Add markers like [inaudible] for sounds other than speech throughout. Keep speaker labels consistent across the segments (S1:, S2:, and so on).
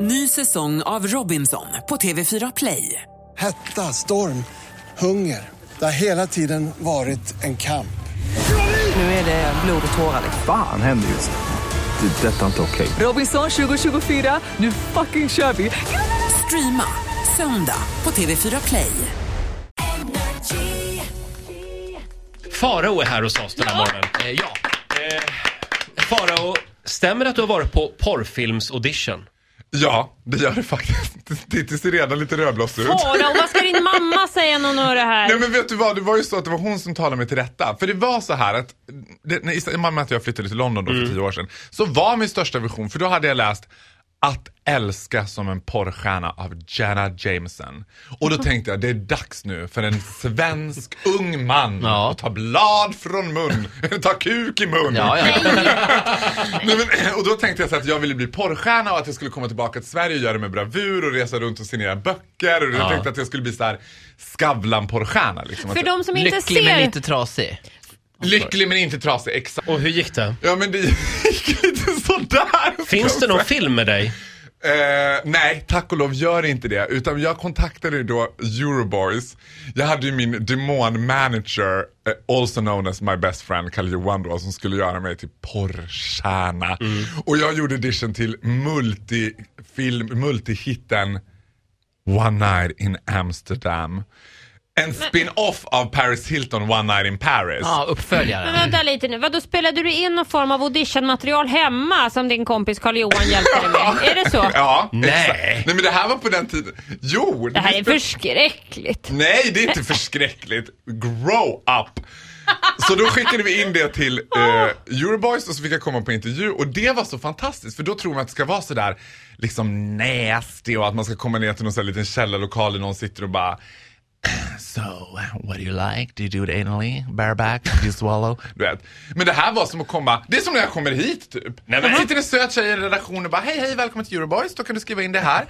S1: Ny säsong av Robinson på TV4 Play.
S2: Hetta, storm, hunger. Det har hela tiden varit en kamp.
S1: Nu är det blod och tårar.
S3: Fan händer just nu. Det. är Detta är inte okej.
S1: Robinson 2024, nu fucking kör vi! Streama söndag på TV4 Play.
S4: Farao är här hos oss den här morgonen. Eh, ja. Eh, Farao, stämmer det att du har varit på porrfilms-audition?
S5: Ja, det gör det faktiskt. Titti ser redan lite rödblåsig ut.
S6: Fara, och vad ska din mamma säga när hon hör det här?
S5: Nej men vet du vad, det var ju så att det var hon som talade mig till rätta. För det var så här att, det, när Isa- i och med att jag flyttade till London då för tio år sedan, så var min största vision, för då hade jag läst att älska som en porrstjärna av Jenna Jameson. Och då tänkte jag, det är dags nu för en svensk ung man
S4: Ja.
S5: att ta blad från mun, [laughs] ta kuk i mun. [laughs] Nej, men, eh, och då tänkte jag så att jag ville bli porrstjärna och att jag skulle komma tillbaka till Sverige och göra det med bravur och resa runt och signera böcker. Och jag
S4: Ja.
S5: tänkte att jag skulle bli så här Skavlan-porrstjärna. Liksom. Att
S6: För
S5: jag-
S6: de som inte
S7: Lycklig
S6: ser...
S7: men lite trasig.
S5: Lycklig men inte trasig, exakt.
S4: Och hur gick det?
S5: Ja men det gick [laughs] lite sådär.
S4: Finns det någon film med dig?
S5: Eh, nej, tack och lov gör inte det. Utan jag kontaktade ju då Euroboys. Jag hade ju min demonmanager, eh, also known as my best friend, Kalle Johan då, som skulle göra mig till porrstjärna. Och jag gjorde audition till multifilm, multihitten One Night in Amsterdam. En spin-off av Paris Hilton, One Night in Paris.
S7: Ja, uppföljare.
S6: Men [laughs] vänta lite nu, vadå spelade du in någon form av auditionmaterial hemma som din kompis Carl-Johan hjälpte dig med? Är det så?
S5: Ja,
S4: Nej.
S5: exakt. Nej men det här var på den tiden. Jo!
S6: Det här är förskräckligt.
S5: Nej, det är inte förskräckligt. Grow up! Så då skickade vi in det till eh, Euroboys och så fick jag komma på intervju och det var så fantastiskt för då tror man att det ska vara sådär liksom nasty och att man ska komma ner till någon sån här liten källarlokal där någon sitter och bara So, what do you like? Do you do it anally? Bareback? Do you swallow? [laughs] Du vet. Men det här var som att komma, det är som när jag kommer hit typ. Nej, men. Sitter en söt tjej i en redaktion och bara hej hej välkommen till Euroboys, då kan du skriva in det här.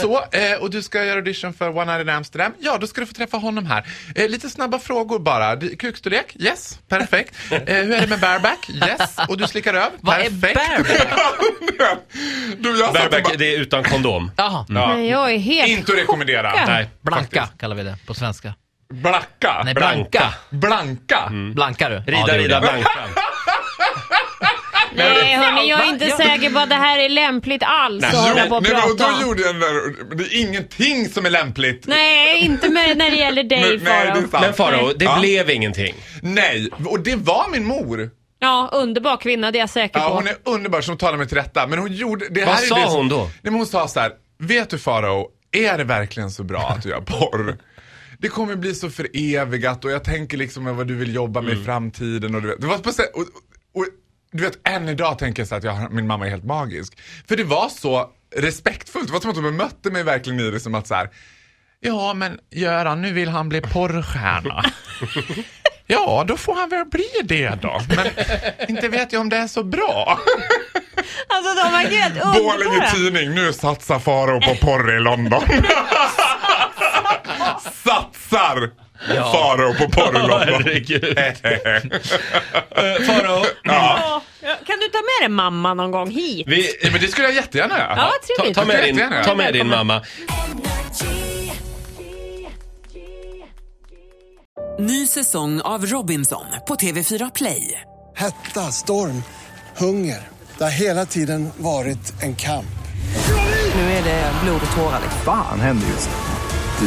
S5: Så, eh, och du ska göra audition för One Night in Amsterdam, ja då ska du få träffa honom här. Eh, lite snabba frågor bara, Du- kukstorlek, yes, perfekt. Eh, hur är det med bareback? Yes, och du slickar öv,
S7: Vad är
S5: perfekt.
S7: bareback?
S5: du, jag satt och
S4: Bareback,
S5: bara,
S4: Alltså, det är utan kondom.
S7: Jaha,
S5: Ja.
S6: Men jag är helt...
S5: Inte att rekommendera.
S6: Chockad.
S4: Nej.
S7: blanka kallar vi det på svenska.
S5: Blacka.
S7: Nej, blanka.
S5: Blanka.
S7: Blanka du. Ja,
S4: Rida,
S7: det gjorde
S4: rida,
S7: jag.
S4: blanka.
S6: Nej hörni, jag är inte
S7: Ja.
S6: säker på att det här är lämpligt alls att
S5: Jo,
S6: hålla på och
S5: nej, men och
S6: prata
S5: då
S6: om.
S5: gjorde jag den där, det är ingenting som är lämpligt.
S6: Nej, inte med, när det gäller dig
S5: Men- nej, det är
S6: Farao.
S5: sant.
S4: Men Farao, det
S5: Ja.
S4: blev ingenting.
S5: Nej, och det var min mor.
S6: Ja, underbar kvinna, det är jag säker
S5: Ja,
S6: på.
S5: hon är underbar som talar mig till rätta. Men hon gjorde, det
S4: Vad
S5: här
S4: sa
S5: är det som,
S4: hon då?
S5: Nej, men hon sa så här, vet du Farao, är det verkligen så bra att du gör porr? Det kommer bli så förevigat och jag tänker liksom med vad du vill jobba
S4: Mm.
S5: med i framtiden och du vet. Det var på sä- och, och, du vet, än idag tänker jag så att jag, har- min mamma är helt magisk. För det var så respektfullt, det var som att hon bemötte mig verkligen i det som att så här. Ja men Göran, nu vill han bli
S4: [laughs]
S5: porrstjärna. Ja, då får han väl bli det då. Men inte vet jag om det är så bra.
S6: Alltså de var
S5: [laughs]
S6: helt
S5: Borlänge
S6: underbara.
S5: Tidning, nu satsar Faro på porr i London. satsar Faro på porr i London.
S4: Herregud. Eh, Farao,
S6: Ja. Kan du ta med dig mamma någon gång hit?
S4: vi...
S5: Ja, men det skulle jag jättegärna göra.
S6: Ja,
S4: Ta,
S6: trevligt.
S4: ta, med din,
S5: Jättegärna.
S4: ta med din mamma.
S1: Ny säsong av Robinson på TV4 Play.
S2: Hetta, storm, hunger. Det har hela tiden varit en kamp.
S1: Nu är det blod och tårar.
S3: Fan händer just nu.